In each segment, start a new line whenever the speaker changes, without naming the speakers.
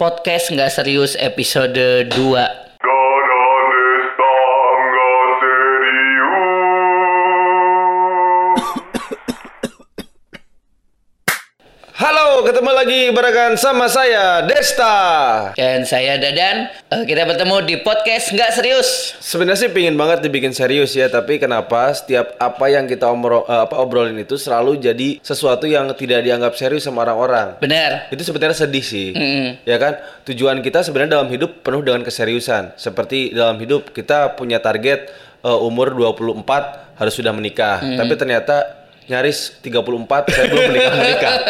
Podcast nggak serius episode 2
Ganan están serius.
Halo, ketemu lagi barengan sama saya Desta.
dan saya Dadan. Eh, Kita bertemu di podcast nggak serius.
Sebenarnya sih pingin banget dibikin serius ya, tapi kenapa setiap apa yang kita omro- eh, apa obrolin itu selalu jadi sesuatu yang tidak dianggap serius sama orang-orang.
Bener.
Itu sebenarnya sedih sih.
Mm-mm.
Ya kan? Tujuan kita sebenarnya dalam hidup penuh dengan keseriusan. Seperti dalam hidup kita punya target eh, umur 24 harus sudah menikah. Tapi ternyata nyaris 34 saya belum menikah-menikah.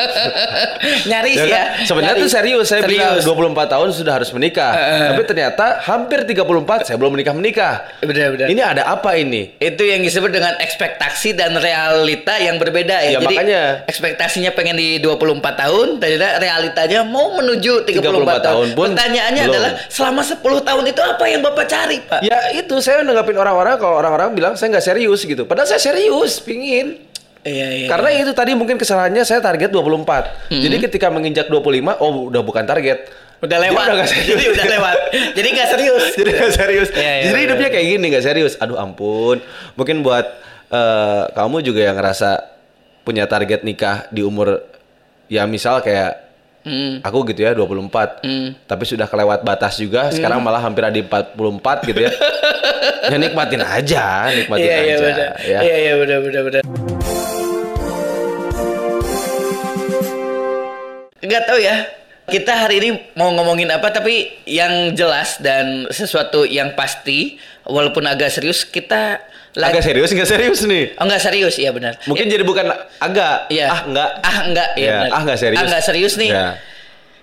Nyaris
Ya
ya.
kan? Sebenarnya
Nyaris.
tuh serius saya
Serius. Eh,
bilang 24 tahun sudah harus menikah. Tapi ternyata hampir 34 saya belum menikah-menikah.
Bener bener.
Ini ada apa ini?
Itu yang disebut dengan ekspektasi dan realita yang berbeda ya.
Ya,
Jadi
makanya.
ekspektasinya pengen di 24 tahun, ternyata realitanya mau menuju 34,
34
tahun.
tahun pun
Pertanyaannya
belum.
adalah selama 10 tahun itu apa yang Bapak cari, Pak?
Ya itu saya nanggapin orang-orang kalau orang-orang bilang saya nggak serius gitu. Padahal saya serius, pingin.
Iya, iya. Hmm.
Karena itu tadi mungkin kesalahannya saya target 24. Jadi ketika menginjak 25, oh udah bukan target.
udah
Dia
lewat.
udah nggak serius.
Jadi udah lewat. Jadi nggak serius.
Jadi nggak serius.
Iya, iya,
Jadi
iya.
hidupnya kayak gini nggak serius. Aduh ampun. Mungkin buat eh, kamu juga yang ngerasa punya target nikah di umur ya misal kayak
Hmm.
aku gitu ya 24.
Hmm.
Tapi sudah kelewat batas juga, sekarang malah hampir ada di 44 gitu ya. ya nikmatin aja, nikmatin
Iya,
aja.
iya, benar.
ya.
Iya, iya, benar, benar, benar. Nggak tahu ya. Kita hari ini mau ngomongin apa tapi yang jelas dan sesuatu yang pasti walaupun agak serius kita
Agak
lagi
serius nggak serius nih?
Oh, nggak serius, iya benar.
Mungkin jadi bukan agak,
Iya.
ah enggak.
Ah, enggak, iya
Ya,
benar.
ah nggak serius.
Ah, nggak serius nih.
Ya.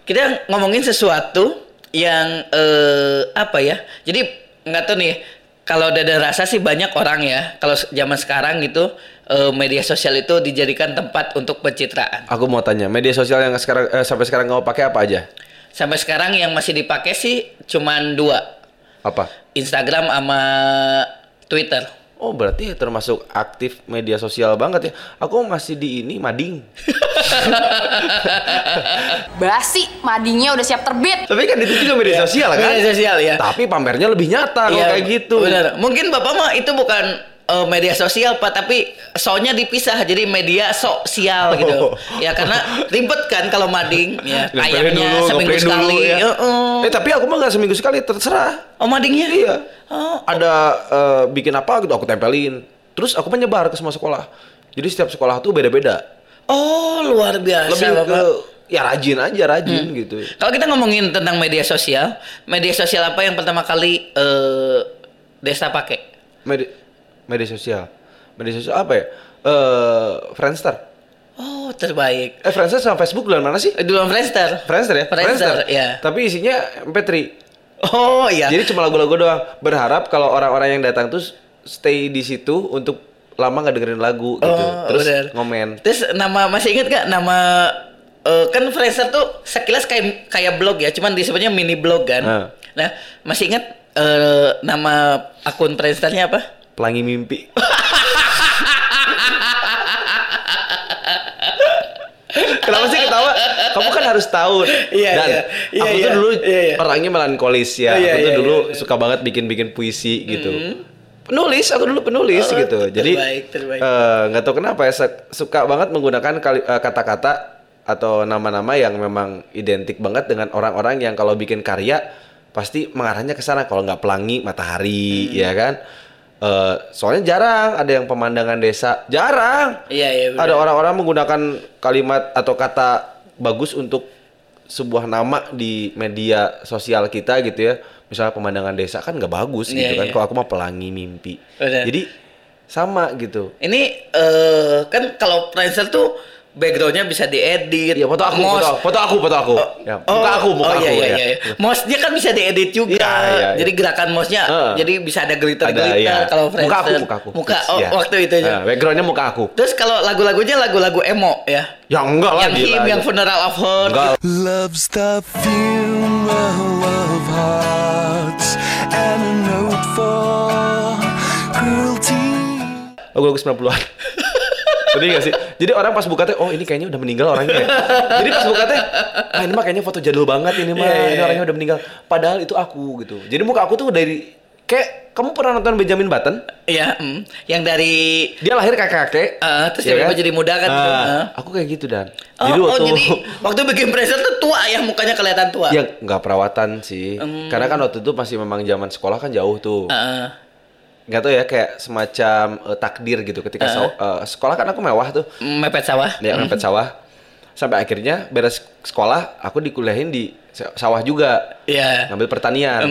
Kita ngomongin sesuatu yang eh, apa ya? Jadi nggak tahu nih. Kalau dada rasa sih banyak orang ya. Kalau se- zaman sekarang gitu eh, media sosial itu dijadikan tempat untuk pencitraan.
Aku mau tanya, media sosial yang sekarang eh, sampai sekarang kamu pakai apa aja?
Sampai sekarang yang masih dipakai sih cuman dua,
Apa?
Instagram sama Twitter.
Oh berarti termasuk aktif media sosial banget ya. Aku masih di ini mading.
Basi, madingnya udah siap terbit.
Tapi kan itu juga media sosial kan.
Iya. Media sosial ya.
Tapi pamernya lebih nyata kalau
Iya,
kayak gitu.
Benar. Mungkin Bapak mah itu bukan eh, media sosial Pak, tapi soalnya dipisah jadi media sosial gitu.
Oh.
Ya karena ribet kan kalau mading ya
Nempelin
tayangnya
dulu,
seminggu
ngeprint dulu
sekali.
ya.
Heeh.
Eh tapi aku mah nggak seminggu sekali terserah.
Oh, madingnya?
Iya.
Oh.
Ada eh, bikin apa gitu aku tempelin. Terus aku menyebar ke semua sekolah. Jadi setiap sekolah tuh beda-beda.
Oh, luar biasa
Lebih ke
Bapak.
ya rajin aja rajin
Hmm.
gitu.
Kalau kita ngomongin tentang media sosial, media sosial apa yang pertama kali eh Desta pakai?
Medi- media sosial. Media sosial apa ya? Eh Friendster.
Oh, terbaik.
Eh Friendster sama Facebook duluan mana sih?
Eh, Duluan Friendster.
Friendster ya?
Friendster, ya.
Tapi isinya MP3.
Oh, iya.
Jadi cuma lagu-lagu doang. Berharap kalau orang-orang yang datang tuh stay di situ untuk lama nggak dengerin lagu gitu.
Oh,
Terus
bener.
ngomen.
Terus nama masih ingat gak nama eh, kan Fraser tuh sekilas kayak kayak blog ya, cuman disebutnya mini blog kan.
Heeh.
Nah, masih ingat eh, nama akun Friendsternya apa?
Pelangi mimpi. Kenapa sih ketawa? Kamu kan harus tahu.
Iya,
Dan
iya. Iya,
aku
iya.
tuh dulu
Iya, iya.
orangnya melankolis
Iya,
ya. aku tuh
iya,
dulu
iya. Mm-hmm.
suka banget bikin-bikin puisi gitu. Penulis, aku dulu penulis
Oh,
gitu. Jadi
terbaik, terbaik.
eh, nggak tahu kenapa ya se- suka banget menggunakan kali- eh, kata-kata atau nama-nama yang memang identik banget dengan orang-orang yang kalau bikin karya pasti mengarahnya ke sana. Kalau nggak pelangi, matahari,
Hmm.
ya kan. Eh, soalnya jarang ada yang pemandangan desa, jarang
Iya, iya. bener.
ada orang-orang menggunakan kalimat atau kata bagus untuk sebuah nama di media sosial kita gitu ya misalnya pemandangan desa kan nggak bagus
Iya,
gitu kan
iya.
kalau aku mah pelangi mimpi
Benar.
jadi sama gitu
Ini eh kan kalau Friendster tuh backgroundnya bisa diedit.
ya foto aku
Mouse.
foto, foto aku foto aku ya, muka aku muka
oh,
aku
iya, iya,
ya.
iya, iya. Mouse-nya kan bisa diedit juga.
Iya, iya, iya.
Jadi gerakan mouse-nya
Heeh.
jadi bisa ada glitter-glitter
Ada, iya.
kalau
muka aku
Friendster.
muka aku
oh,
Ya.
waktu itu aja.
Nah, backgroundnya muka aku
Terus kalau lagu-lagunya lagu-lagu emo ya.
ya enggak lah
yang
gila
him,
aja.
yang funeral of her.
enggak
Love's the funeral of hearts and a note for cruelty.
Oh, lagu-lagu 90-an Sedih gak sih? Jadi orang pas buka teh, oh ini kayaknya udah meninggal orangnya. ya. Jadi pas buka teh, ah ini mah kayaknya foto jadul banget ini mah.
Iya, iya,
Ini orangnya udah meninggal. Padahal itu aku gitu. Jadi muka aku tuh dari kayak kamu pernah nonton Benjamin Button?
Iya, mm. yang dari
Dia lahir kakek-kakek. Iya
Eh, terus tiba-tiba jadi muda kan gitu.
Ah,
Eh.
aku kayak gitu dan.
Oh,
jadi
oh,
waktu
jadi waktu bikin bracer tuh tua ya mukanya kelihatan tua.
ya nggak perawatan sih.
Hmm.
Karena kan waktu itu masih memang zaman sekolah kan jauh tuh.
Heeh.
nggak tahu ya kayak semacam eh, takdir gitu ketika
Ah.
saw- eh, sekolah kan aku mewah tuh
Mm, mepet sawah.
ya ngepet sawah sampai akhirnya beres sekolah aku dikuliahin di sa- sawah juga
Iya.
ngambil pertanian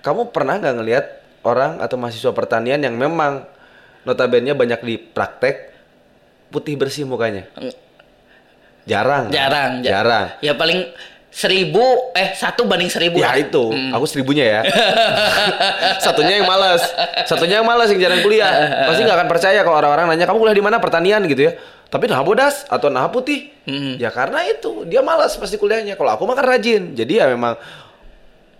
kamu pernah nggak ngelihat orang atau mahasiswa pertanian yang memang notabene banyak di praktek putih bersih mukanya jarang
Hmm. Jarang, jar-
jarang
Ya paling seribu eh satu banding seribu.
Ya
lah. Mm,
itu, aku seribunya ya. satunya yang malas, satunya yang malas yang jarang kuliah. Pasti nggak akan percaya kalau orang-orang nanya kamu kuliah di mana pertanian gitu ya. Tapi nah bodas atau nah putih. Ya karena itu dia malas pasti kuliahnya. Kalau aku makan rajin. Jadi ya memang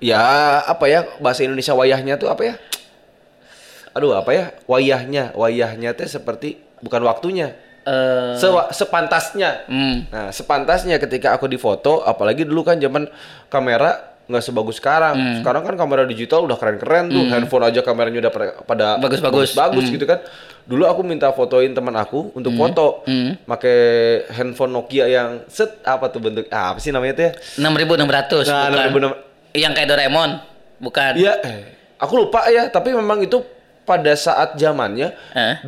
ya apa ya bahasa Indonesia wayahnya tuh apa ya? Aduh apa ya wayahnya wayahnya teh seperti bukan waktunya
Eh,
Sewa- sepantasnya.
Hmm.
Nah, sepantasnya ketika aku difoto, apalagi dulu kan zaman kamera nggak sebagus sekarang. Sekarang kan kamera digital udah keren-keren tuh. Handphone aja kameranya udah pada- pada
Bagus-bagus.
bagus gitu kan. Dulu aku minta fotoin teman aku untuk foto, pakai handphone Nokia yang set apa tuh bentuk ah, apa sih namanya tuh ya?
6600
Nah,
bukan.
6.600.
Yang kayak Doraemon, bukan.
Iya, eh, aku lupa ya, tapi memang itu pada saat zamannya
Eh.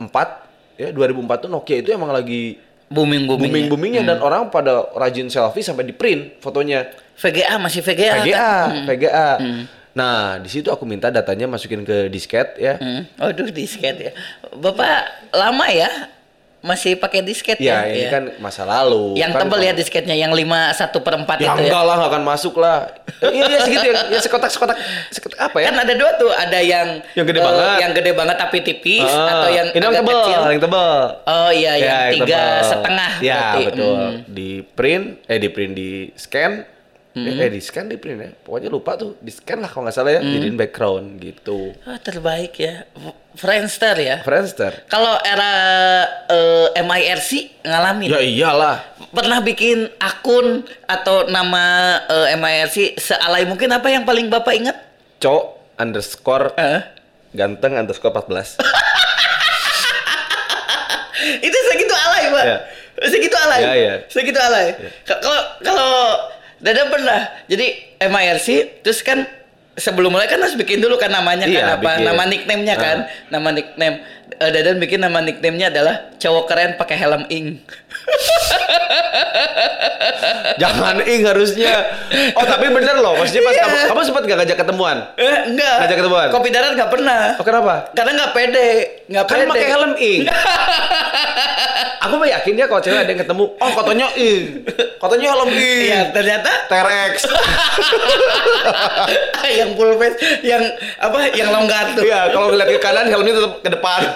2004 ya 2004 tuh Nokia itu emang lagi
Booming booming.
booming boomingnya dan orang pada rajin selfie sampai di print fotonya
VGA masih VGA.
PGA
kan?
PGA nah di situ aku minta datanya masukin ke disket ya
Hmm. Aduh disket ya. Bapak lama ya masih pakai disket ya?
ya ini
Iya.
kan masa lalu
yang
kan
tebel ya
kalau-
disketnya yang 5 1 per 4
ya
itu ya.
enggak lah nggak akan masuk lah Eh, iya iya segitu ya, ya sekotak sekotak sekotak apa ya
Kan ada dua tuh, ada yang
Yang gede
eh,
banget.
yang gede banget tapi tipis
Ah,
atau yang
ini yang
agak
tebel
kecil.
yang tebel
Oh iya,
Ya,
yang tiga
tebel.
setengah
ya
berarti.
betul
Hmm.
di print eh di print di scan
Hmm.
Eh, eh, di scan di print ya pokoknya lupa tuh di scan lah kalau nggak salah ya
Hmm.
jadiin background gitu
Oh, terbaik ya. F- Friendster ya.
Friendster
Kalau era eh, MIRC ngalamin.
ya iyalah
Pernah bikin akun atau nama eh, MIRC sealai mungkin apa yang paling Bapak ingat?
co underscore
Eh?
ganteng underscore 14
Itu segitu alay, Pak.
Iya.
Segitu alay.
Iya, iya.
Segitu alay. K- Kalau kalau Dada pernah. Jadi MIRC terus kan sebelum mulai kan harus bikin dulu kan namanya kan
Iya,
apa
bikin.
nama nickname-nya kan. Nama nickname Eh, Dadan bikin nama nickname-nya adalah cowok keren pakai helm ing.
jangan ing harusnya oh tapi bener loh maksudnya pas
Iya.
kamu kamu sempat gak ngajak ketemuan
Eh, enggak.
Ngajak ketemuan?
Kopi Dadan enggak pernah.
oh kenapa
Karena nggak pede, nggak
kan
pede.
pakai helm ing aku mah yakin dia kalau cewek ada yang ketemu oh kotonya ing kotonya helm ing
Iya, ternyata
terex
yang full face, yang apa, yang longgar tuh.
iya kalau ngeliat ke kanan helmnya tetap ke depan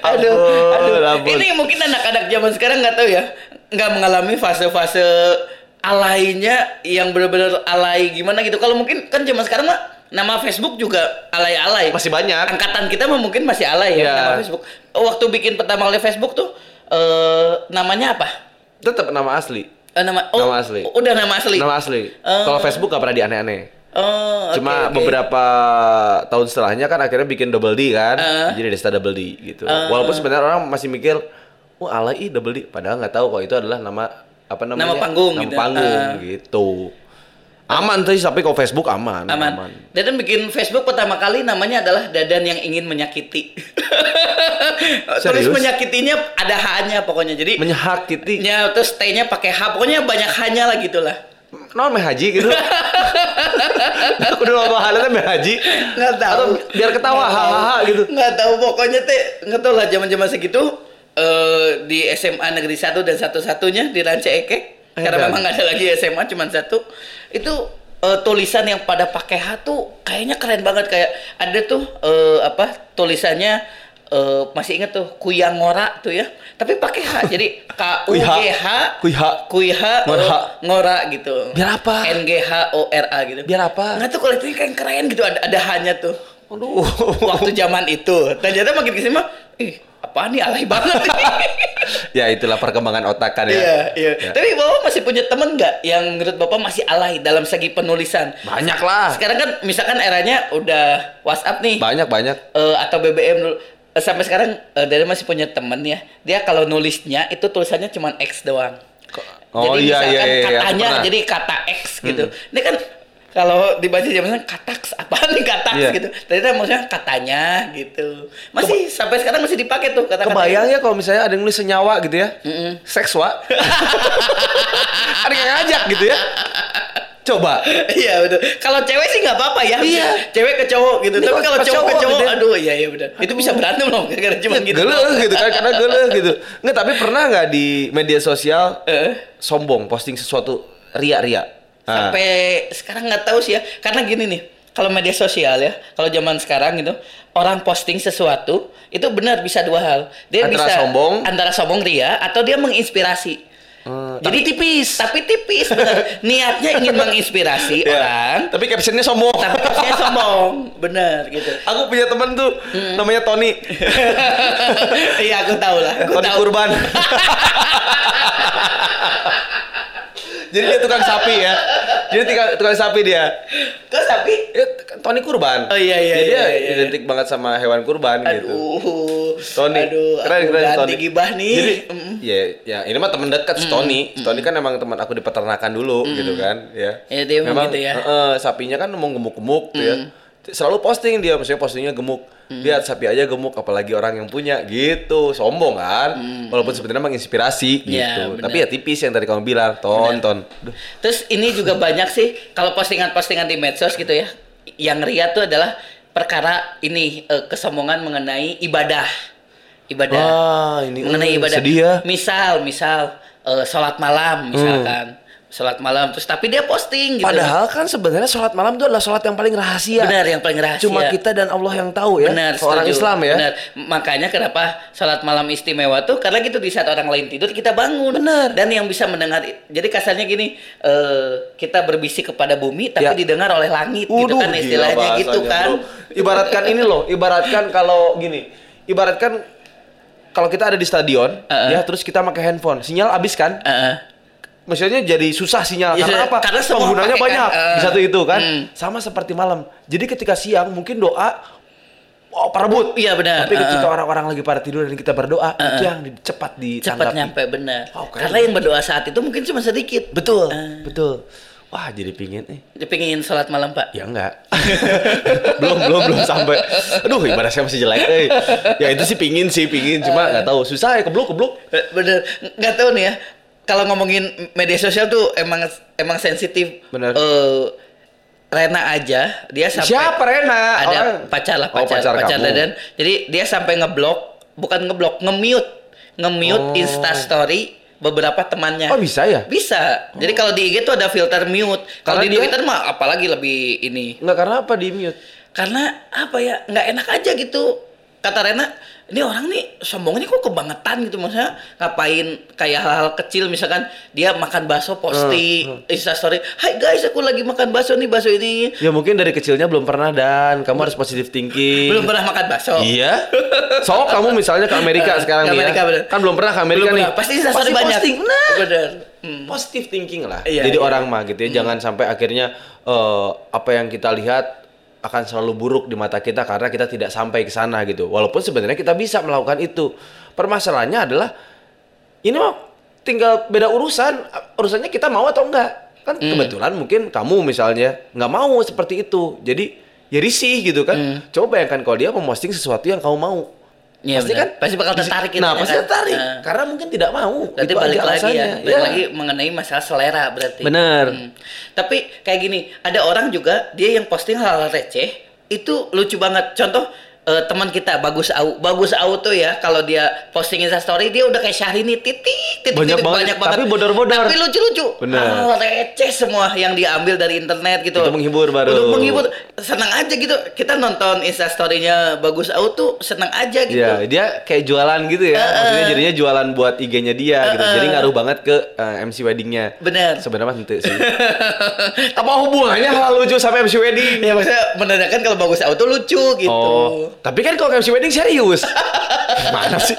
aduh,
Ampun,
aduh.
ampun.
Ini mungkin anak-anak zaman sekarang nggak tahu ya, nggak mengalami fase-fase alainya yang benar-benar alay gimana gitu. Kalau mungkin kan zaman sekarang mah nama Facebook juga alay-alay.
Masih banyak.
Angkatan kita mah mungkin masih alay ya
Iya.
nama Facebook. Oh, Waktu bikin pertama kali Facebook tuh eh namanya apa?
tetap nama asli
Eh, nama, oh,
Nama asli.
Udah nama asli.
nama asli Eh.
Oh.
kalau Facebook gak pernah di aneh-aneh
Oh, oke,
Cuma
oke.
beberapa tahun setelahnya kan akhirnya bikin double D kan.
Heeh.
Jadi Desta double D gitu.
Uh.
Walaupun sebenarnya orang masih mikir, wah alay ih double D. Padahal nggak tahu kalau itu adalah nama apa
Nama
namanya?
panggung
Nama
gitu.
panggung
Heeh.
gitu. Aman tuh tapi kalau Facebook aman.
aman. Dadan bikin Facebook pertama kali namanya adalah Dadan yang ingin menyakiti. Terus
Serius?
menyakitinya ada H-nya pokoknya. Jadi
Menyakiti.
nya terus T-nya pakai H. Pokoknya banyak H-nya lah gitulah.
Non meh haji gitu. Aku udah lama halnya meh haji.
Nggak tahu.
Atau biar ketawa
Nggak tahu.
hahaha gitu.
Nggak tahu pokoknya teh nggak tahu lah zaman-zaman segitu eh, di SMA Negeri 1 dan satu-satunya di Ranca Ekek.
Eh,
Karena
dan-
memang nggak ada lagi SMA cuman satu. Itu eh, tulisan yang pada pakai H tuh kayaknya keren banget kayak ada tuh eh, apa tulisannya eh, masih inget tuh Kuyangora tuh ya. Tapi pakai H. Jadi K U G H
Kuy H.
Kuy H
Ngora.
O- Ngora gitu.
Biar apa?
N G H O R A gitu.
Biar apa?
kan Nggak tuh kalau itu keren keren gitu ada ada hanya tuh.
Aduh.
waktu zaman itu. Ternyata makin kesini mah, ih apaan nih alay banget.
ya itulah perkembangan otak kan ya.
Iya, iya.
Ya.
Tapi bapak masih punya temen nggak yang menurut bapak masih alay dalam segi penulisan?
Banyak lah.
Sekarang kan misalkan eranya udah WhatsApp nih,
Banyak banyak.
eh, atau BBM dulu. Eh, Sampai sekarang eh, Dede masih punya temen ya. Dia kalau nulisnya itu tulisannya cuma X doang.
Oh,
jadi
iya, iya,
misalkan
iya, iya, aku
katanya
pernah. Hmm.
jadi kata X gitu. Ini kan kalau dibaca zaman sekarang kataks apaan nih kataks
Iya.
gitu. Ternyata maksudnya katanya gitu. Masih sampai sekarang masih dipakai tuh kata-kata.
Kebayang ya kalau misalnya ada yang nulis senyawa gitu ya. Seks, Wak. ada yang ngajak gitu ya. Coba.
Iya betul. Kalau cewek sih nggak apa-apa ya.
Iya.
Cewek ke cowok gitu.
Ini
Tapi
kok
kalau
ke
cowok ke
cowok
cowok,
gitu ya.
aduh iya iya benar. Itu bisa berantem loh gara-gara cuma gitu.
Geleh gitu kan karena geleh gitu. Nggak, tapi pernah nggak di media sosial
Eh.
sombong posting sesuatu ria-ria? Ah.
Sampai sekarang nggak tahu sih ya. Karena gini nih, kalau media sosial ya, kalau zaman sekarang gitu, orang posting sesuatu itu benar bisa dua hal. Dia
Antara
bisa
sombong.
antara sombong ria atau dia menginspirasi.
Hmm,
Jadi tipis, tapi tipis benar. Niatnya ingin menginspirasi
Ya.
orang,
Tapi captionnya sombong.
tapi saya sombong, benar gitu.
Aku punya teman tuh
Mm.
namanya Tony.
Iya aku tahu lah. Aku
Tony
tahu.
Kurban. Jadi dia tukang sapi ya. Jadi tukang, tukang sapi dia.
Kok sapi?
Ya, Tony Kurban.
Oh, iya, iya,
Jadi
iya,
dia
iya, iya.
identik banget sama hewan kurban gitu.
Aduh.
Tony.
Aduh,
keren
aku
keren
ganti
Tony.
gibah nih.
Jadi,
Mm.
ya, ya ini mah teman dekat si Tony. Si Tony kan emang teman aku di peternakan dulu gitu kan, ya.
Ya, dia emang gitu ya. Mm.
eh, sapinya kan emang gemuk-gemuk tuh ya. Selalu posting dia, maksudnya postingnya gemuk. Lihat sapi aja gemuk, apalagi orang yang punya gitu, sombong kan. Walaupun sebenarnya menginspirasi gitu.
Ya, benar.
Tapi ya tipis yang tadi kamu bilang, tonton. Duh,
Terus ini juga banyak sih kalau postingan-postingan di medsos gitu ya. Yang ria tuh adalah perkara ini eh, kesombongan mengenai ibadah. Ibadah.
Wah, ini,
mengenai
eh,
ibadah.
sedih ya.
Misal, misal eh, sholat malam misalkan. Sholat malam terus tapi dia posting gitu.
Hmm. Padahal kan sebenarnya sholat malam itu adalah sholat yang paling rahasia.
Benar, yang paling rahasia.
Cuma kita dan Allah yang tahu ya.
Benar,
Orang
setuju.
Islam ya.
Benar. Makanya kenapa salat malam istimewa tuh karena gitu di saat orang lain tidur kita bangun.
Benar.
Dan yang bisa mendengar jadi kasarnya gini, eh kita berbisik kepada bumi tapi
Ya.
didengar oleh langit gitu
Waduh,
kan
gila
istilahnya
bahasanya,
gitu kan.
bro. Ibaratkan ini loh, ibaratkan kalau gini, ibaratkan kalau kita ada di stadion,
Heeh.
ya terus kita pakai handphone, sinyal habis kan?
Heeh.
Maksudnya jadi susah sinyal
Iya,
karena apa?
karena semua
penggunanya
pakai kan,
banyak
eh.
di satu itu kan.
Hmm.
Sama seperti malam. Jadi ketika siang mungkin doa oh, perebut.
Iya, benar.
Tapi ketika
Eh, eh.
orang-orang lagi pada tidur dan kita berdoa, itu yang di- cepat ditanggapi.
Cepat nyampe benar.
Oh, keren.
karena yang berdoa saat itu mungkin cuma sedikit.
Betul,
Eh.
betul. Wah, jadi pingin eh
Dia pengen salat malam, Pak.
Ya enggak. belum belum belum sampai. Aduh, ibadah saya masih jelek. Eh. Ya itu sih pingin sih, pingin cuma nggak tahu. Susah ya keblok keblok.
Eh, Bener, nggak tahu nih ya. Kalau ngomongin media sosial tuh emang emang sensitif.
Bener.
Eh, Rena aja, dia sampai
Siapa Rena?
Ada
Orang-
pacar lah,
Oh,
pacar,
pacar
pacar
kamu.
Dadan. Jadi dia sampai ngeblok, bukan ngeblok, nge-mute, nge-mute
Oh.
Insta Story beberapa temannya.
Oh, bisa ya?
Bisa. Jadi kalau di IG tuh ada filter mute. Kalau
Karena
di
dia-
Twitter mah apalagi lebih ini.
Enggak karena apa di mute?
Karena apa ya? nggak enak aja gitu. Kata Rena, ini orang nih sombongnya kok kebangetan gitu maksudnya ngapain kayak hal-hal kecil misalkan dia makan bakso
Hmm,
posting instastory hai guys aku lagi makan bakso nih bakso ini
Ya mungkin dari kecilnya belum pernah dan kamu harus positive thinking.
belum pernah makan bakso
Iya. So kamu misalnya ke Amerika
Eh,
sekarang
ke
nih ya.
Amerika, bener.
Kan belum pernah ke Amerika
Belum
nih.
pernah. pasti instastory banyak
posting. Nah,
bener Hmm.
positive thinking lah.
Iya,
Jadi
iya.
orang mah gitu ya, jangan sampai akhirnya eh, apa yang kita lihat akan selalu buruk di mata kita karena kita tidak sampai ke sana gitu. Walaupun sebenarnya kita bisa melakukan itu. Permasalahannya adalah ini mah tinggal beda urusan, urusannya kita mau atau enggak. Kan
Hmm.
kebetulan mungkin kamu misalnya nggak mau seperti itu. Jadi ya risih gitu kan. Coba bayangkan kalau dia memposting sesuatu yang kamu mau.
Hmm.
kan?
Iya, benar. Pasti bakal tertarik gitu
Nah,
ya
pasti
kan?
tertarik
Nah.
karena mungkin tidak mau.
Berarti
Itu aja
balik lagi ya,
alasannya.
balik
Ya.
lagi mengenai masalah selera berarti. Hmm.
Bener.
Tapi kayak gini, ada orang juga dia yang posting hal-hal receh itu lucu banget. Contoh eh, eh, teman kita bagus au bagus au tuh ya kalau dia posting instastory dia udah kayak Syahrini titik titik
Banyak
titik,
banget, tapi bodor-bodor.
tapi lucu-lucu
Bener.
Ah, receh semua yang diambil dari internet gitu
Itu menghibur baru.
untuk menghibur senang aja gitu kita nonton instastorynya bagus au tuh senang aja gitu
Iya, dia kayak jualan gitu ya. Maksudnya jadinya jualan buat IG-nya dia gitu. Jadi ngaruh banget ke eh, MC weddingnya.
Bener.
Sebenarnya ente sih. Apa hubungannya hal lucu sama MC wedding?
ya maksudnya menandakan kalau bagus auto lucu gitu
Oh, tapi kan kalau MC wedding serius. Mana sih?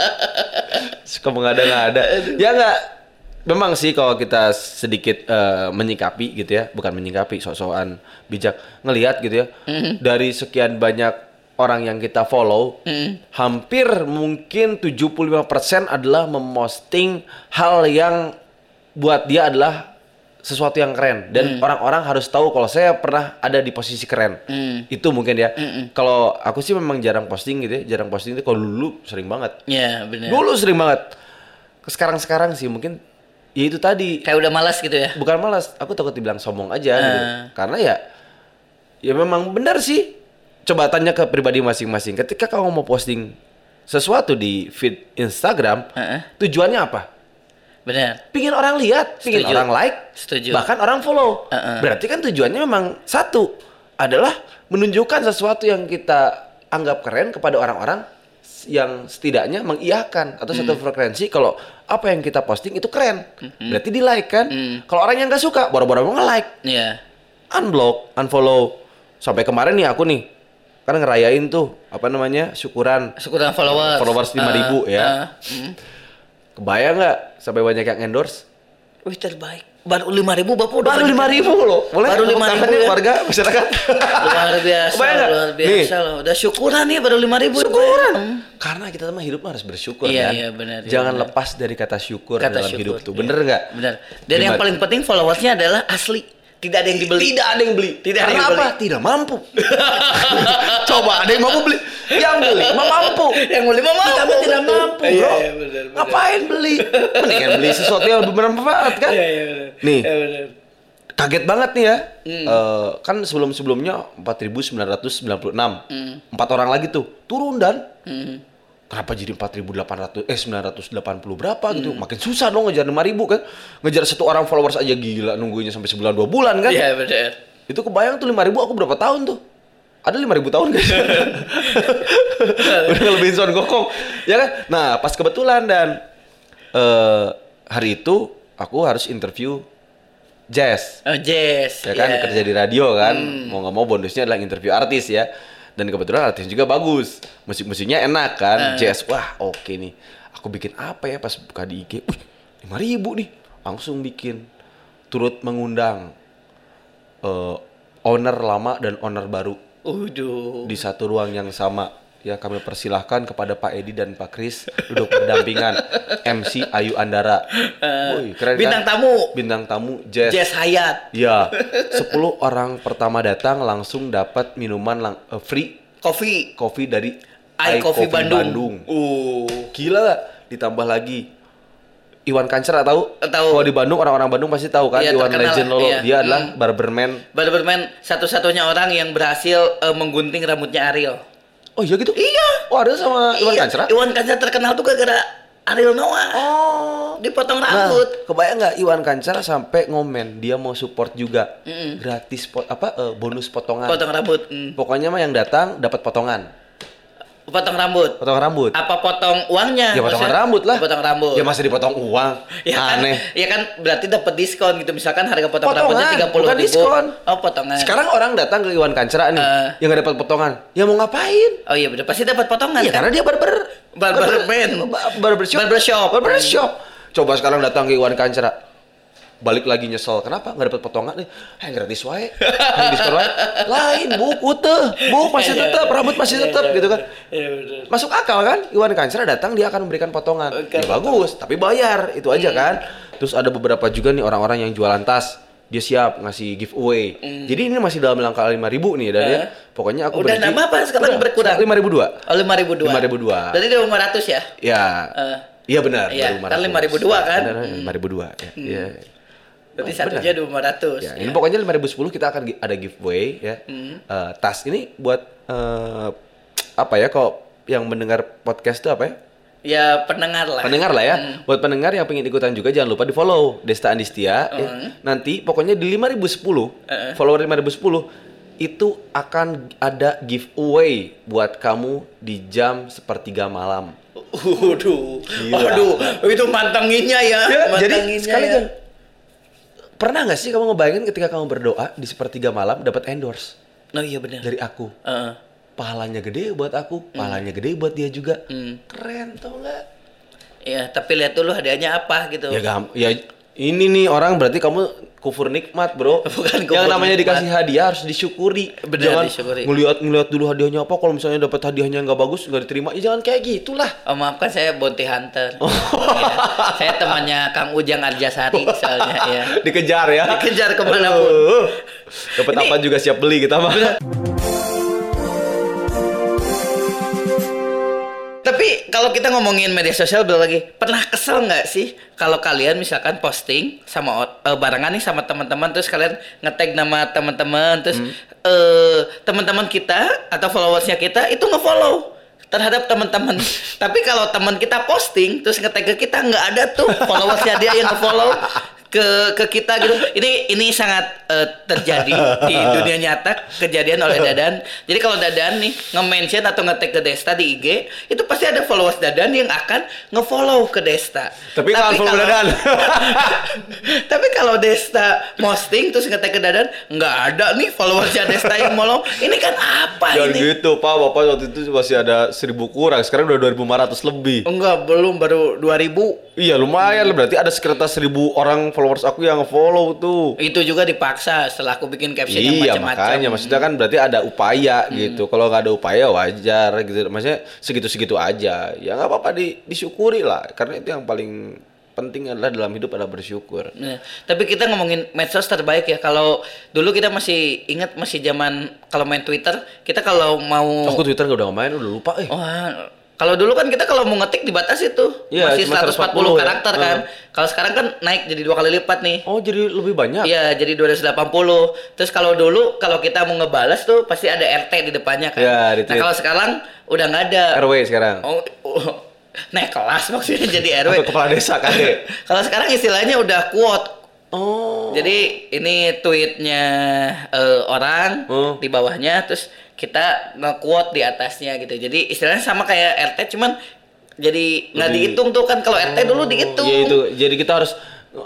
Suka mengada-ngada. Ya enggak. Memang sih kalau kita sedikit eh, menyikapi gitu ya, bukan menyikapi sok-sokan bijak ngelihat gitu ya. Dari sekian banyak orang yang kita follow, hampir mungkin 75% adalah memposting hal yang buat dia adalah sesuatu yang keren dan orang-orang harus tahu kalau saya pernah ada di posisi keren itu mungkin ya kalau aku sih memang jarang posting gitu ya jarang posting itu kalau dulu sering banget
ya benar
dulu sering banget sekarang sekarang sih mungkin ya itu tadi
kayak udah malas gitu ya
bukan malas aku takut dibilang sombong aja gitu.
Eh.
karena ya ya memang benar sih coba tanya ke pribadi masing-masing ketika kamu mau posting sesuatu di feed Instagram
Heeh.
tujuannya apa
benar
pingin orang lihat, pingin
Setuju.
orang like,
Setuju.
bahkan orang follow.
Uh-uh.
Berarti kan tujuannya memang satu adalah menunjukkan sesuatu yang kita anggap keren kepada orang-orang yang setidaknya mengiakan atau
Hmm.
satu frekuensi kalau apa yang kita posting itu keren. Berarti di like kan.
Hmm.
Kalau orang yang nggak suka, boro-boro mau nge-like,
ya
unblock, unfollow. Sampai kemarin nih aku nih kan ngerayain tuh apa namanya syukuran
syukuran followers
Followers 5.000 ya.
Ah, mm.
kebayang nggak sampai banyak yang endorse
wih terbaik baru lima ribu bapak udah
Baru lima ribu loh. Boleh
Baru
tepuk
5.000
tangannya
ya.
warga masyarakat.
luar biasa
Kebayang nggak?
luar
Nih,
biasa loh udah syukuran nih baru lima ribu Hmm.
syukuran. Karena kita mah hidup mah harus bersyukur
Iya,
kan.
iya, benar, iya,
Jangan
benar.
lepas dari kata syukur
kata
dalam
syukur iya.
hidup tuh. Bener nggak?
benar dan yang
Gimana?
paling penting followersnya adalah asli tidak ada yang dibeli
Tidak ada yang beli.
Tidak ada
Karena
yang
apa?
beli.
Tidak mampu. Coba ada yang mampu beli. Yang beli mah mampu.
yang beli mama
Kita mah tidak mampu, bro.
iya, iya, benar, benar.
Ngapain beli? Mendingan beli sesuatu yang lebih bermanfaat kan?
Iya, iya, benar.
Nih,
Iya, benar.
kaget banget nih ya. Eh, kan sebelum-sebelumnya 4996. Empat orang lagi tuh turun dan kenapa jadi 4800 eh 980 berapa gitu. Makin susah dong ngejar 5000 kan. Ngejar satu orang followers aja gila nunggunya sampai sebulan dua bulan kan.
iya benar
Itu kebayang tuh 5000 aku berapa tahun tuh? Ada 5000 tahun guys. Udah lebih son gokong. Ya kan? Nah, pas kebetulan dan eh hari itu aku harus interview Jazz
oh Jess
ya kan
iya. Hmm.
kerja di radio kan mau nggak mau bonusnya adalah interview artis ya dan kebetulan artis juga bagus musik-musiknya enak kan
Hmm.
jazz wah oke nih aku bikin apa ya pas buka di IG lima ribu nih langsung bikin turut mengundang eh, owner lama dan owner baru
Uduh.
di satu ruang yang sama ya kami persilahkan kepada Pak Edi dan Pak Kris duduk berdampingan MC Ayu Andara Woi,
Eh,
keren kan?
bintang tamu.
bintang tamu
Jess Hayat
Ya, 10 orang pertama datang langsung dapat minuman lang- eh, free
Coffee
kopi dari
I Coffee Bandung. Uh.
Gila nggak? Ditambah lagi Iwan Kancer tahu?
Tahu.
Kalau di Bandung orang-orang Bandung pasti tahu kan
Iya,
Iwan
terkenal.
Legend Lolo.
Iya.
Dia adalah barberman.
Barberman satu-satunya orang yang berhasil eh, menggunting rambutnya Ariel.
Oh iya gitu? Iya. Oh ada sama Iwan
Iya,
Kancer?
Iwan Kancera terkenal tuh gara-gara Ariel Noah.
Oh.
Dipotong
Nah,
rambut.
kebayang nggak Iwan Kancer sampai ngomen dia mau support juga gratis pot apa eh, bonus potongan.
Potong rambut. mm.
Pokoknya mah yang datang dapat potongan,
Potong rambut.
potongan rambut.
Apa potong uangnya?
Ya potongan
Maksudnya,
rambut lah.
Potong rambut.
Ya masa dipotong uang.
Ya kan,
Aneh.
ya kan berarti dapat diskon gitu. Misalkan harga potong
Potongan,
rambutnya 30
bukan
ribu.
diskon.
Oh potongan.
Sekarang orang datang ke Iwan Kancera nih,
Eh.
yang gak dapat potongan. Ya mau ngapain?
Oh iya bener. pasti dapat potongan
Ya
kan?
karena dia barber
Barberman.
Ba- barbershop.
Barbershop.
Barbershop. Coba sekarang datang ke Iwan Kancera. Balik lagi nyesel. Kenapa nggak dapat potongan nih? Hang gratis wae. Hang diskon wae. Lain buku teh. Buku masih tetap, rambut masih tetap gitu kan.
Iya bener.
Masuk akal kan? Iwan Kancera datang dia akan memberikan potongan.
Oke. Hmm.
Ya, bagus, tapi bayar itu aja kan. Terus ada beberapa juga nih orang-orang yang jualan tas. Dia siap ngasih giveaway. Jadi ini masih dalam langkah 5000 nih dan ya.
Hmm. Eh.
Pokoknya aku
Udah nambah apa sekarang berkurang?
5002.
Oh 5002.
5.002.
Berarti udah 500 ya?
Ya.
Eh.
Iya benar.
Iya,
baru
kan 5.002 kan?
Benar, benar, 5.002 ya. Iya.
Berarti
Oh,
satu
benar.
aja 200. Ya,
Ya,
Hmm.
ini pokoknya 5010 kita akan gi- ada giveaway ya. Eh, tas ini buat eh, apa ya kalau yang mendengar podcast itu apa ya?
Ya pendengar lah. Hmm.
Pendengar lah ya. Buat pendengar yang pengen ikutan juga jangan lupa di-follow Desta Andistia. ya.
Hmm.
Nanti pokoknya di 5010, follower 5010 itu akan ada giveaway buat kamu di jam sepertiga malam.
Waduh.
Gila.
Waduh, itu mantenginnya ya.
Ya, jadi
mantenginnya
sekali
ya.
kan pernah nggak sih kamu ngebayangin ketika kamu berdoa di sepertiga malam dapat endorse
Oh iya benar.
dari aku?
Heeh.
Pahalanya gede buat aku, pahalanya gede buat dia juga.
Hmm.
Keren tau nggak?
Ya, tapi lihat dulu hadiahnya apa gitu.
Ya gam- ya ini nih orang berarti kamu kufur nikmat, Bro.
Bukan kufur
Yang namanya
nikmat.
dikasih hadiah harus disyukuri.
Benar,
jangan
disyukuri.
ngelihat ngelihat dulu hadiahnya apa kalau misalnya dapat hadiahnya nggak bagus nggak diterima. Ya jangan kayak gitulah.
Oh, maafkan saya bounty hunter.
Oh.
Iya. Saya temannya Kang Ujang Arjasari soalnya ya.
Dikejar ya.
Dikejar kemana pun.
Aduh. Dapat apa juga siap beli kita mah.
Tapi kalau kita ngomongin media sosial balik lagi, pernah kesel nggak sih kalau kalian misalkan posting sama ot- eh, barengan nih sama teman-teman terus kalian ngetag nama teman-teman terus eh, teman-teman kita atau followersnya kita itu ngefollow terhadap teman-teman. Tapi kalau teman kita posting terus ngetag ke kita nggak ada tuh followersnya dia yang ngefollow ke ke kita gitu. Ini ini sangat eh, terjadi di dunia nyata kejadian oleh Dadan. Jadi kalau Dadan nih nge-mention atau nge-tag ke Desta di IG, itu pasti ada followers Dadan yang akan nge-follow ke Desta.
Tapi jangan follow
kalau-
Dadan.
Tapi kalau Desta posting terus nge-tag ke Dadan, nggak ada nih followersnya Desta yang follow. Ini kan apa
Jangan
ini?
gitu, Pak. Bapak waktu itu masih ada 1000 kurang, sekarang udah 2500 lebih.
Enggak, Oh, belum baru 2000.
Iya, lumayan lah berarti ada sekitar 1000 orang followers aku yang follow tuh.
Itu juga dipaksa setelah aku bikin caption yang macam-macam.
Iya
Hmm.
makanya maksudnya kan berarti ada upaya gitu. Kalau nggak ada upaya wajar gitu. Maksudnya segitu-segitu aja. Ya nggak apa-apa di, disyukuri lah. Karena itu yang paling penting adalah dalam hidup adalah bersyukur.
Nah, tapi kita ngomongin medsos terbaik ya. Kalau dulu kita masih ingat masih zaman kalau main Twitter, kita kalau mau
Aku Twitter gak udah main udah lupa
Oh.
eh.
wah, kalau dulu kan kita kalau mau ngetik dibatasi tuh
Iya,
masih
cuma
140
140 ya.
karakter kan. Kalau sekarang kan naik jadi dua kali lipat nih.
Oh jadi lebih banyak.
Iya, jadi 280. Terus kalau dulu kalau kita mau ngebales tuh pasti ada RT di depannya kan.
Iya, di
nah,
tweet.
kalau sekarang udah nggak ada.
RW sekarang.
Oh, oh, naik kelas maksudnya jadi RW.
Atau kepala desa kan, kade.
kalau sekarang istilahnya udah quote
oh.
Jadi ini tweetnya eh, orang
Hmm.
di bawahnya, terus kita nge-quote di atasnya gitu. Jadi istilahnya sama kayak RT, cuman jadi nggak
Lebih-
dihitung tuh kan kalau RT dulu dihitung.
Iya itu. Jadi kita harus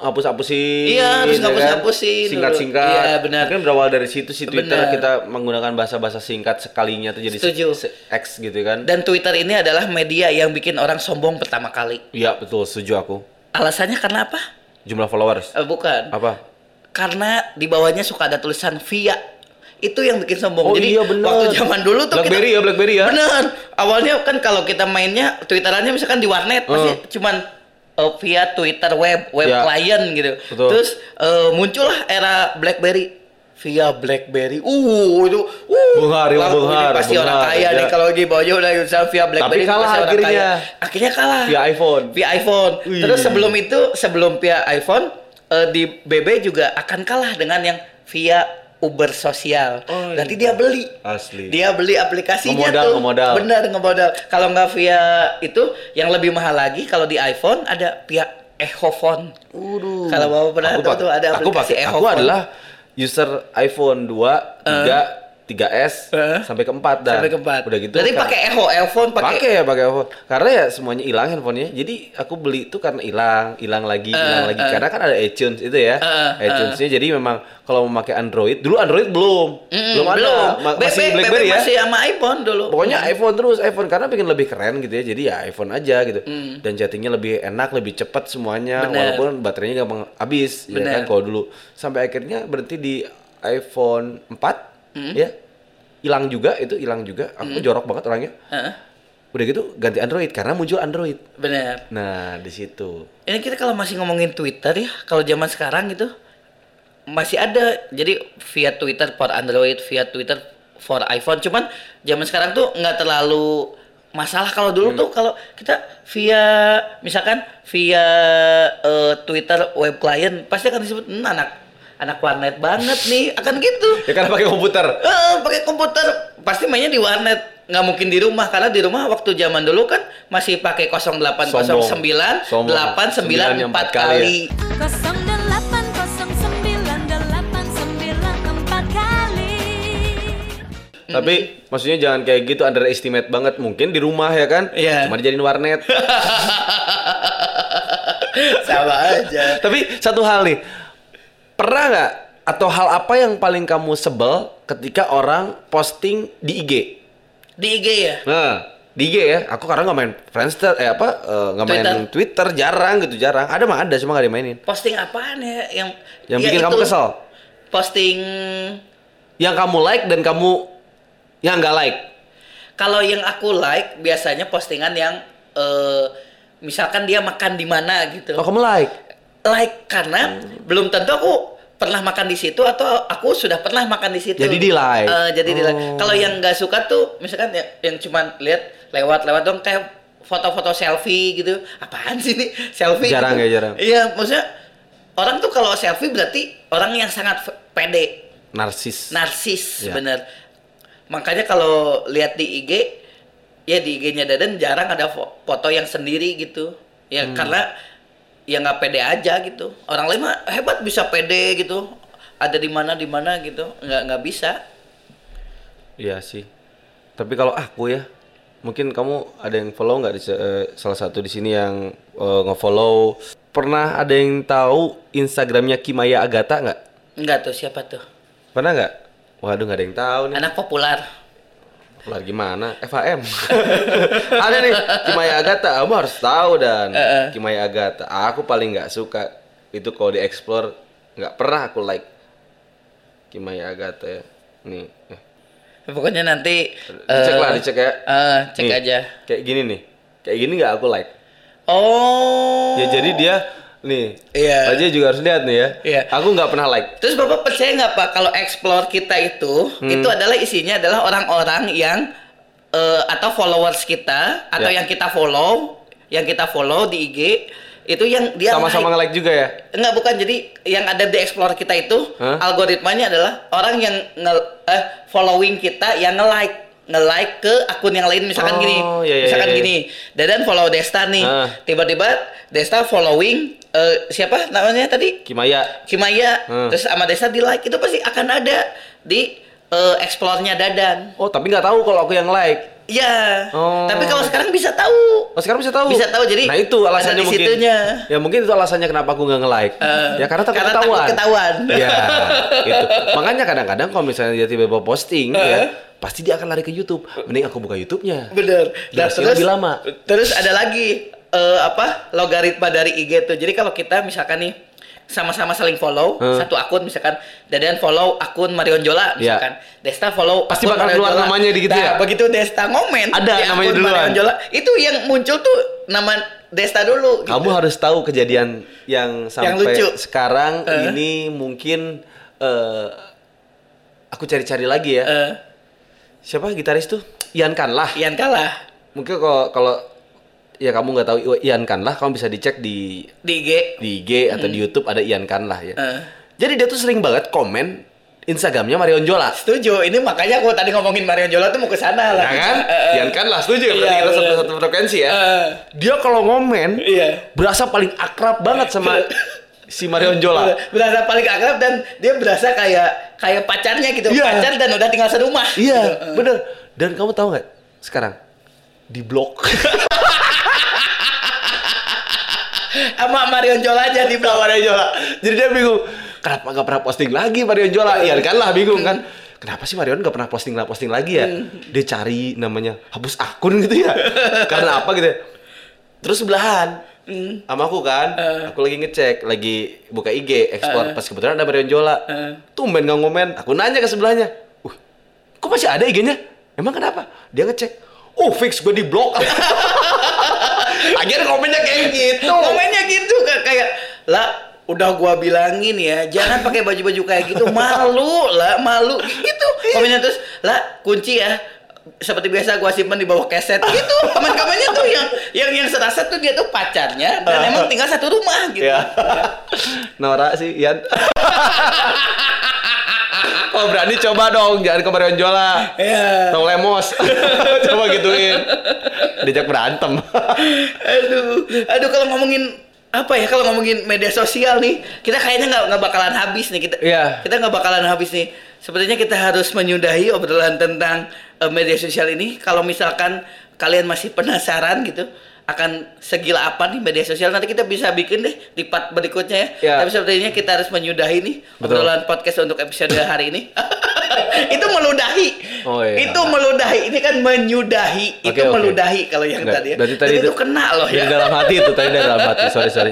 hapus-hapusin.
Iya, harus
ya kan?
ngapus-ngapusin dulu.
Singkat-singkat.
Iya, benar.
Mungkin berawal dari situ sih Twitter
Benar.
kita menggunakan bahasa-bahasa singkat sekalinya tuh jadi se-
Setuju.
se- X gitu kan.
Dan Twitter ini adalah media yang bikin orang sombong pertama kali.
Iya betul setuju aku.
Alasannya karena apa?
Jumlah followers.
Eh, bukan.
Apa?
Karena di bawahnya suka ada tulisan via. Itu yang bikin sombong.
Oh,
Jadi
iya, benar.
waktu zaman dulu tuh
Blackberry ya, Blackberry ya.
Bener. Awalnya kan kalau kita mainnya twitterannya misalkan di warnet pasti cuman eh, via Twitter web web
Uh. Ya.
client gitu.
Betul.
Terus eh, muncullah era BlackBerry via BlackBerry. Uh itu uh
Bungar, ya,
Langsung ini
bungar,
pasti
bungar,
orang kaya
ya.
nih kalau di bawahnya udah usaha via BlackBerry.
Tapi kalah
pasti orang
akhirnya.
kaya. Akhirnya kalah.
Via iPhone.
Via iPhone.
Wih.
Terus sebelum itu, sebelum via iPhone, eh, di BB juga akan kalah dengan yang via Uber sosial.
Oh, iya.
Berarti dia beli.
Asli.
Dia beli aplikasinya
Ngemodal,
tuh.
ngemodal.
Benar ngemodal. Kalau nggak via itu, yang lebih mahal lagi kalau di iPhone ada via Echophone. Kalau bapak pernah
Aku
tuh,
pak-
tuh ada
aku
aplikasi
pakai- aku
Echophone.
adalah user iPhone 2, 3, 3S
Eh.
sampai ke 4 dah.
sampai keempat.
Udah gitu.
Berarti
kan.
pakai Echo, Echophone pakai.
pakai ya pakai iPhone. Karena ya semuanya hilang handphonenya. Jadi aku beli itu karena hilang, hilang lagi, hilang lagi. Karena kan ada iTunes itu ya.
Eh,
iTunes-nya jadi memang kalau mau pakai Android, dulu Android belum.
Mm-mm,
belum ada.
belum.
Ma-
BB,
masih
BB
BlackBerry ya.
masih sama iPhone dulu.
Pokoknya iPhone terus iPhone karena bikin lebih keren gitu ya. Jadi ya iPhone aja gitu. Dan chattingnya lebih enak, lebih cepat semuanya
Hmm. Bener.
walaupun baterainya gampang habis ya
Bener.
kan kalau dulu. Sampai akhirnya berhenti di iPhone 4
Hmm.
ya. Hilang juga itu hilang juga. Aku jorok banget orangnya.
Heeh,
Udah gitu ganti Android karena muncul Android.
benar.
Nah, di situ.
Ini kita kalau masih ngomongin Twitter ya, kalau zaman sekarang gitu masih ada. Jadi via Twitter for Android, via Twitter for iPhone. Cuman zaman sekarang tuh nggak terlalu masalah kalau dulu tuh kalau kita via misalkan via eh, Twitter web client pasti akan disebut "Hmm, anak anak warnet banget nih akan gitu.
Ya karena pakai komputer.
Eh, pakai komputer pasti mainnya di warnet. nggak mungkin di rumah karena di rumah waktu zaman dulu kan masih pakai 0809
Sombong. Sombong.
894
94 kali
kali.
0809 kali.
Hmm.
Tapi maksudnya jangan kayak gitu underestimate banget. Mungkin di rumah ya kan?
Iya.
Cuma dijadiin warnet.
Sama aja.
Iya. Tapi satu hal nih. Pernah nggak atau hal apa yang paling kamu sebel ketika orang posting di IG?
Di IG ya?
Nah, di IG ya. Aku karena nggak main Friendster eh apa eh, nggak main Twitter jarang gitu jarang. Ada mah ada cuma nggak dimainin.
Posting apaan ya yang
Yang
ya
bikin kamu
itu.
kesel?
Posting
Yang kamu like dan kamu yang nggak like.
kalau yang aku like biasanya postingan yang eh, misalkan dia makan di mana gitu.
Oh kamu like.
Like karena
Hmm.
belum tentu aku pernah makan di situ atau aku sudah pernah makan di situ.
Jadi di-like.
Eh, jadi di like.
Oh.
Kalau yang nggak suka tuh misalkan ya, yang cuman lihat lewat-lewat dong kayak foto-foto selfie gitu. Apaan sih ini selfie?
Jarang
gitu.
ya, jarang.
Iya, maksudnya orang tuh kalau selfie berarti orang yang sangat f- pede.
Narsis.
narsis
Ya.
bener makanya kalau lihat di IG ya di IG-nya Dadan jarang ada fo- foto yang sendiri gitu ya
Hmm.
karena ya nggak pede aja gitu orang lain mah hebat bisa pede gitu ada di mana di mana gitu nggak nggak bisa
Iya sih. Tapi kalau aku ya, mungkin kamu ada yang follow nggak di se- eh, salah satu di sini yang eh, ngefollow. Pernah ada yang tahu Instagramnya Kimaya Agata nggak?
nggak tuh siapa tuh
Pernah nggak? Waduh nggak ada yang tahu nih.
anak populer
Lah gimana? FHM. ada nih Kimaya Agata. Kamu harus tahu dan
Eh,
Kimaya Agata. Aku paling nggak suka itu kalau di explore nggak pernah aku like Kimaya Agata ya. Nih. eh,
pokoknya nanti
Dicek
eh,
lah, dicek ya.
eh, cek
Nih,
aja
Kayak gini nih. Kayak gini nggak aku like.
oh
Ya jadi dia nih.
Iya.
Pak Jay juga harus lihat nih ya.
Iya.
Aku nggak pernah like.
Terus Bapak percaya nggak Pak kalau explore kita itu
Hmm.
itu adalah isinya adalah orang-orang yang eh, atau followers kita atau
Ya.
yang kita follow, yang kita follow di IG itu yang dia
Sama-sama
naik.
nge-like juga ya.
Enggak bukan jadi yang ada di explore kita itu
Hah?
algoritmanya adalah orang yang nge eh, following kita yang nge-like nge-like ke akun yang lain misalkan
Oh,
gini.
iya, iya,
misalkan
iya, iya.
gini, Dadan follow Desta nih.
Ah.
Tiba-tiba Desta following eh, siapa namanya tadi?
Kimaya.
Kimaya
Hmm.
terus sama Desa di like itu pasti akan ada di eh, explore-nya Dadan.
Oh tapi nggak tahu kalau aku yang like.
Iya.
Oh.
Tapi kalau sekarang bisa tahu.
Oh sekarang bisa tahu.
Bisa tahu, jadi
Nah itu
ada
alasannya
di
mungkin.
situnya. Eh,
Ya mungkin itu alasannya kenapa aku nggak nge-like. ya karena takut
karena takut
ketahuan.
ketahuan.
Iya. itu. Makanya kadang-kadang kalau misalnya dia tiba-tiba posting ya, pasti dia akan lari ke YouTube. Mending aku buka YouTube-nya.
Eh. Bener. Nah,
Durasinya lebih lama.
Terus ada lagi eh, apa logaritma dari IG tuh. Jadi kalau kita misalkan nih sama-sama saling follow
Hmm.
satu akun misalkan Dadan follow akun Marion Jola
Iya.
misalkan Desta follow
Pasti
akun
bakal
Marion
keluar
Jola.
namanya di gitu
Nah,
ya?
begitu Desta ngomen
Ada
di
namanya
akun
duluan.
Marion Jola itu yang muncul tuh nama Desta dulu gitu.
Kamu harus tahu kejadian yang sampai
lucu.
sekarang
Eh.
ini mungkin eh, aku cari-cari lagi ya.
Eh,
Siapa gitaris tuh? Ian Kanlah.
Ian kalah
Mungkin kalau kalau ya kamu nggak tahu Ian Kanlah, kamu bisa dicek di
di IG
di IG atau di YouTube ada Ian Kanlah ya.
Hmm. Eh.
Jadi dia tuh sering banget komen Instagramnya Marion Jola.
setuju ini makanya aku tadi ngomongin Marion Jola tuh mau ke sana lah
Ya kan? Ian Kanlah setuju ya berarti
Eh, Iya,
kita
bener.
satu, satu frekuensi ya.
Eh.
Dia kalau ngomen
Iya.
berasa paling akrab banget sama si Marion Jola.
berasa paling akrab dan dia berasa kayak kayak pacarnya gitu
Iya.
pacar dan udah tinggal serumah
Iya,
Gitu. Eh.
bener. Dan kamu tahu nggak sekarang di blok
sama Marion Jola aja di bawah
Marion Jola. Jadi dia bingung, kenapa nggak pernah posting lagi Marion Jola? Iya kan lah bingung kan. Kenapa sih Marion nggak pernah posting lah posting lagi ya? Dia cari namanya hapus akun gitu ya. Karena apa gitu? ya. Terus sebelahan sama aku kan, aku lagi ngecek, lagi buka IG, explore pas kebetulan ada Marion Jola. Tumben nggak ngomen, aku nanya ke sebelahnya. Uh, kok masih ada IG-nya? Emang kenapa? Dia ngecek. Oh, fix gue di blok. Lagian komennya kayak gitu.
komennya gitu Kak. kayak lah udah gua bilangin ya jangan pakai baju-baju kayak gitu malu lah malu gitu komennya terus lah kunci ya seperti biasa gua simpan di bawah keset gitu komen-komennya tuh yang yang yang serasa tuh dia tuh pacarnya dan emang tinggal satu
Iya.
rumah gitu
Ya. Nora sih Ian. Oh berani coba dong, jangan ke Marion Jola.
Iya.
Tau lemos. coba gituin. Diajak berantem.
aduh, aduh kalau ngomongin apa ya kalau ngomongin media sosial nih kita kayaknya nggak nggak bakalan habis nih kita
Iya.
kita nggak bakalan habis nih sepertinya kita harus menyudahi obrolan tentang eh, media sosial ini kalau misalkan kalian masih penasaran gitu akan segila apa nih media sosial nanti kita bisa bikin deh di part berikutnya ya
Iya.
tapi sepertinya kita harus menyudahi nih
Betul.
obrolan podcast untuk episode hari ini itu meludahi
Oh, iya.
itu meludahi ini kan menyudahi itu
Oke, oke.
meludahi kalau yang
Nggak,
tadi ya
berarti tadi
Jadi
itu-
itu kena loh
Dari
ya
dalam hati itu tadi dari dalam hati. Sorry sorry.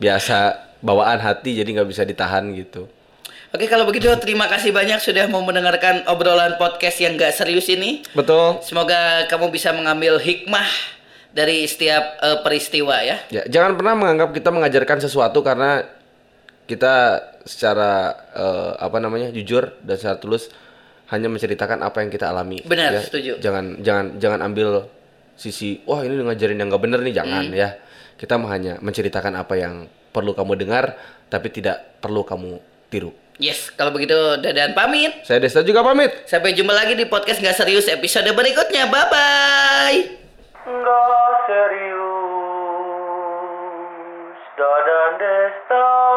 Biasa bawaan hati jadi nggak bisa ditahan gitu.
Oke kalau begitu terima kasih banyak sudah mau mendengarkan obrolan podcast yang gak serius ini.
Betul.
Semoga kamu bisa mengambil hikmah dari setiap eh, peristiwa ya.
Ya, jangan pernah menganggap kita mengajarkan sesuatu karena kita secara eh, apa namanya jujur dan secara tulus hanya menceritakan apa yang kita alami.
Benar,
ya.
setuju.
Jangan jangan jangan ambil sisi wah ini ngajarin yang nggak bener nih jangan
Hmm.
ya. Kita mah hanya menceritakan apa yang perlu kamu dengar tapi tidak perlu kamu tiru.
Yes, kalau begitu dadan pamit.
Saya Desta juga pamit.
Sampai jumpa lagi di podcast gak serius episode berikutnya. Bye bye.
Nggak serius Dadan Desta